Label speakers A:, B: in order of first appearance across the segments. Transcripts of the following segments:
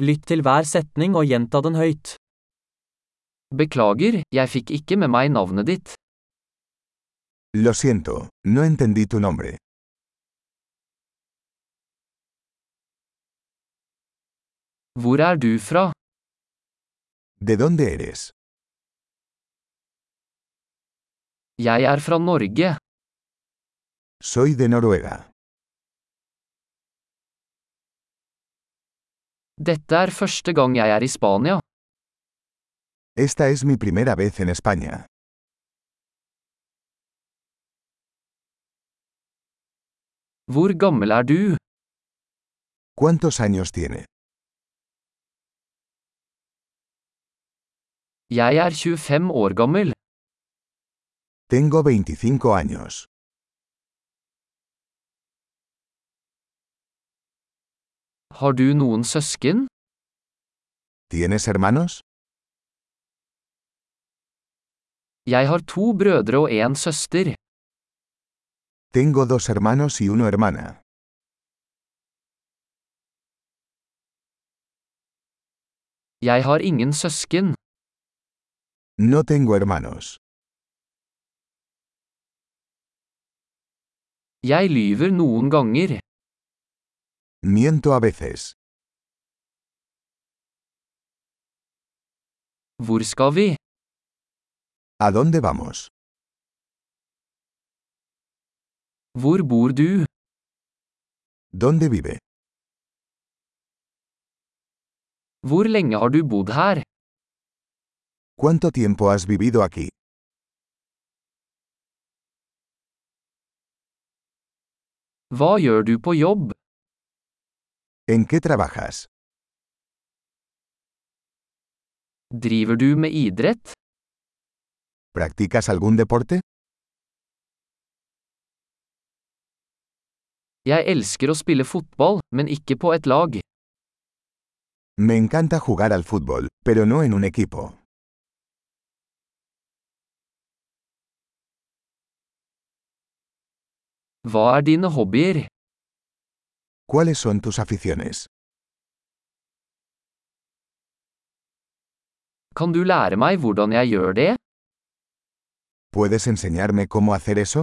A: Lytt til hver setning og gjenta den høyt. Beklager, jeg fikk ikke med meg navnet ditt.
B: Lo siento, no entendí tu nombre.
A: Hvor er du fra?
B: ¿De dónde eres?
A: Jeg er fra Norge.
B: Soy de Noruega.
A: Dette er første gang jeg er i Spania.
B: Esta es mi primera vez en España.
A: Hvor gammel er du?
B: ¿Cuántos años tiene?
A: Jeg er 25 år gammel.
B: Tengo 25 años.
A: Har du noen søsken?
B: ¿Tienes hermanos?
A: Jeg har to brødre og en søster.
B: Tengo dos hermanos y una hermana.
A: Jeg har ingen søsken.
B: No tengo hermanos.
A: Jeg lyver noen ganger.
B: Miento a veces.
A: Hvor skal vi?
B: ¿A dónde vamos?
A: Hvor bor du?
B: ¿Dónde vive?
A: Hvor lenge har du bodd her?
B: ¿Cuánto tiempo has vivido aquí?
A: Hva gjør du på jobb?
B: ¿En qué trabajas?
A: Driver du med idrett?
B: ¿Practicas algún deporte?
A: Jeg elsker å spille fotball, men ikke på et lag.
B: Me encanta jugar al fútbol, pero no en un equipo.
A: Hva er dine hobbyer?
B: ¿Cuáles son tus aficiones?
A: Kan du lære meg hvordan jeg gjør det?
B: ¿Puedes enseñarme cómo hacer eso?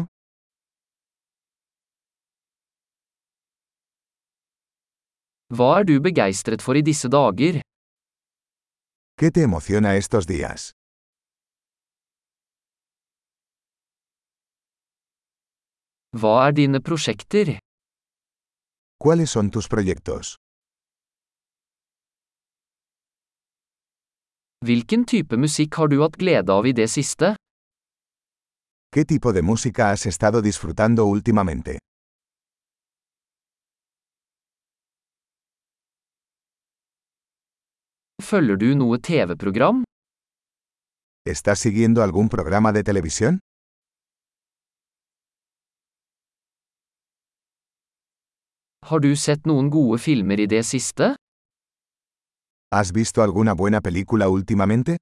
A: Hva er du begeistret for i disse dager?
B: ¿Qué te emociona estos días?
A: Hva er dine prosjekter?
B: ¿Cuáles son tus proyectos?
A: Hvilken type musikk har du hatt glede av i det siste?
B: ¿Qué tipo de música has estado disfrutando últimamente?
A: Følger du noe TV-program?
B: ¿Estás siguiendo algún programa de televisión?
A: Har du sett noen gode filmer i det siste?
B: ¿Has visto alguna buena película últimamente?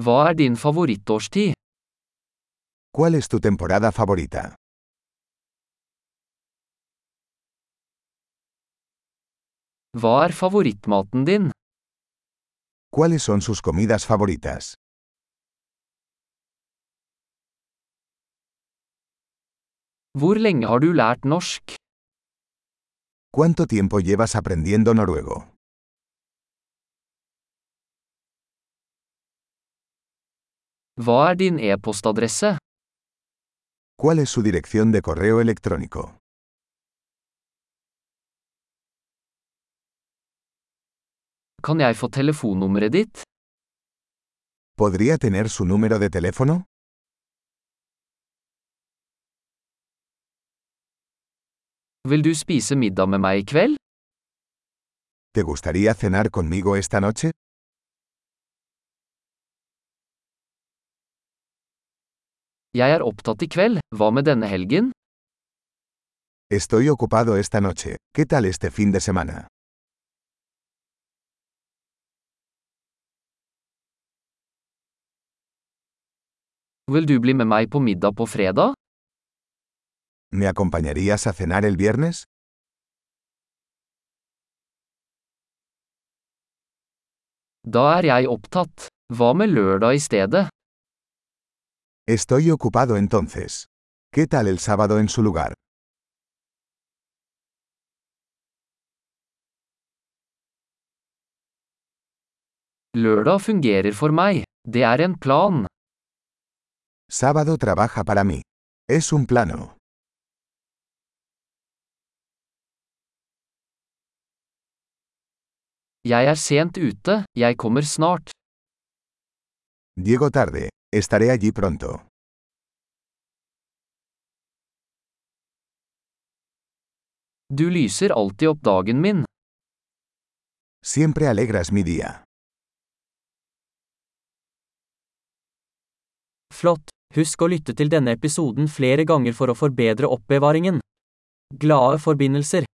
A: Hva er din favorittårstid?
B: ¿Cuál es tu temporada favorita?
A: Hva er favorittmaten din?
B: ¿Cuáles son sus comidas favoritas?
A: Hvor lenge har du lært norsk?
B: ¿Cuánto tiempo llevas aprendiendo noruego?
A: Hva er din e-postadresse?
B: ¿Cuál es su dirección de correo electrónico?
A: Kan jeg få telefonnummeret ditt?
B: ¿Podría tener su número de teléfono?
A: Vil du spise middag med meg i kveld?
B: ¿Te gustaría cenar conmigo esta noche?
A: Jeg er opptatt i kveld, hva med denne helgen?
B: Estoy ocupado esta noche. ¿Qué tal este fin de semana?
A: Vil du bli med meg på middag på fredag?
B: ¿Me acompañarías a cenar el viernes?
A: Da er jeg opptatt. Hva med lørdag i stedet?
B: Estoy ocupado entonces. ¿Qué tal el sábado en su lugar?
A: Lørdag fungerer for meg. Det er en plan.
B: Sábado trabaja para mí. Es un plano.
A: Jeg er sent ute, jeg kommer snart.
B: Llego tarde. Estaré allí pronto.
A: Du lyser alltid opp dagen min.
B: Siempre alegras mi día.
C: Flott! Husk å lytte til denne episoden flere ganger for å forbedre oppbevaringen. Glade forbindelser!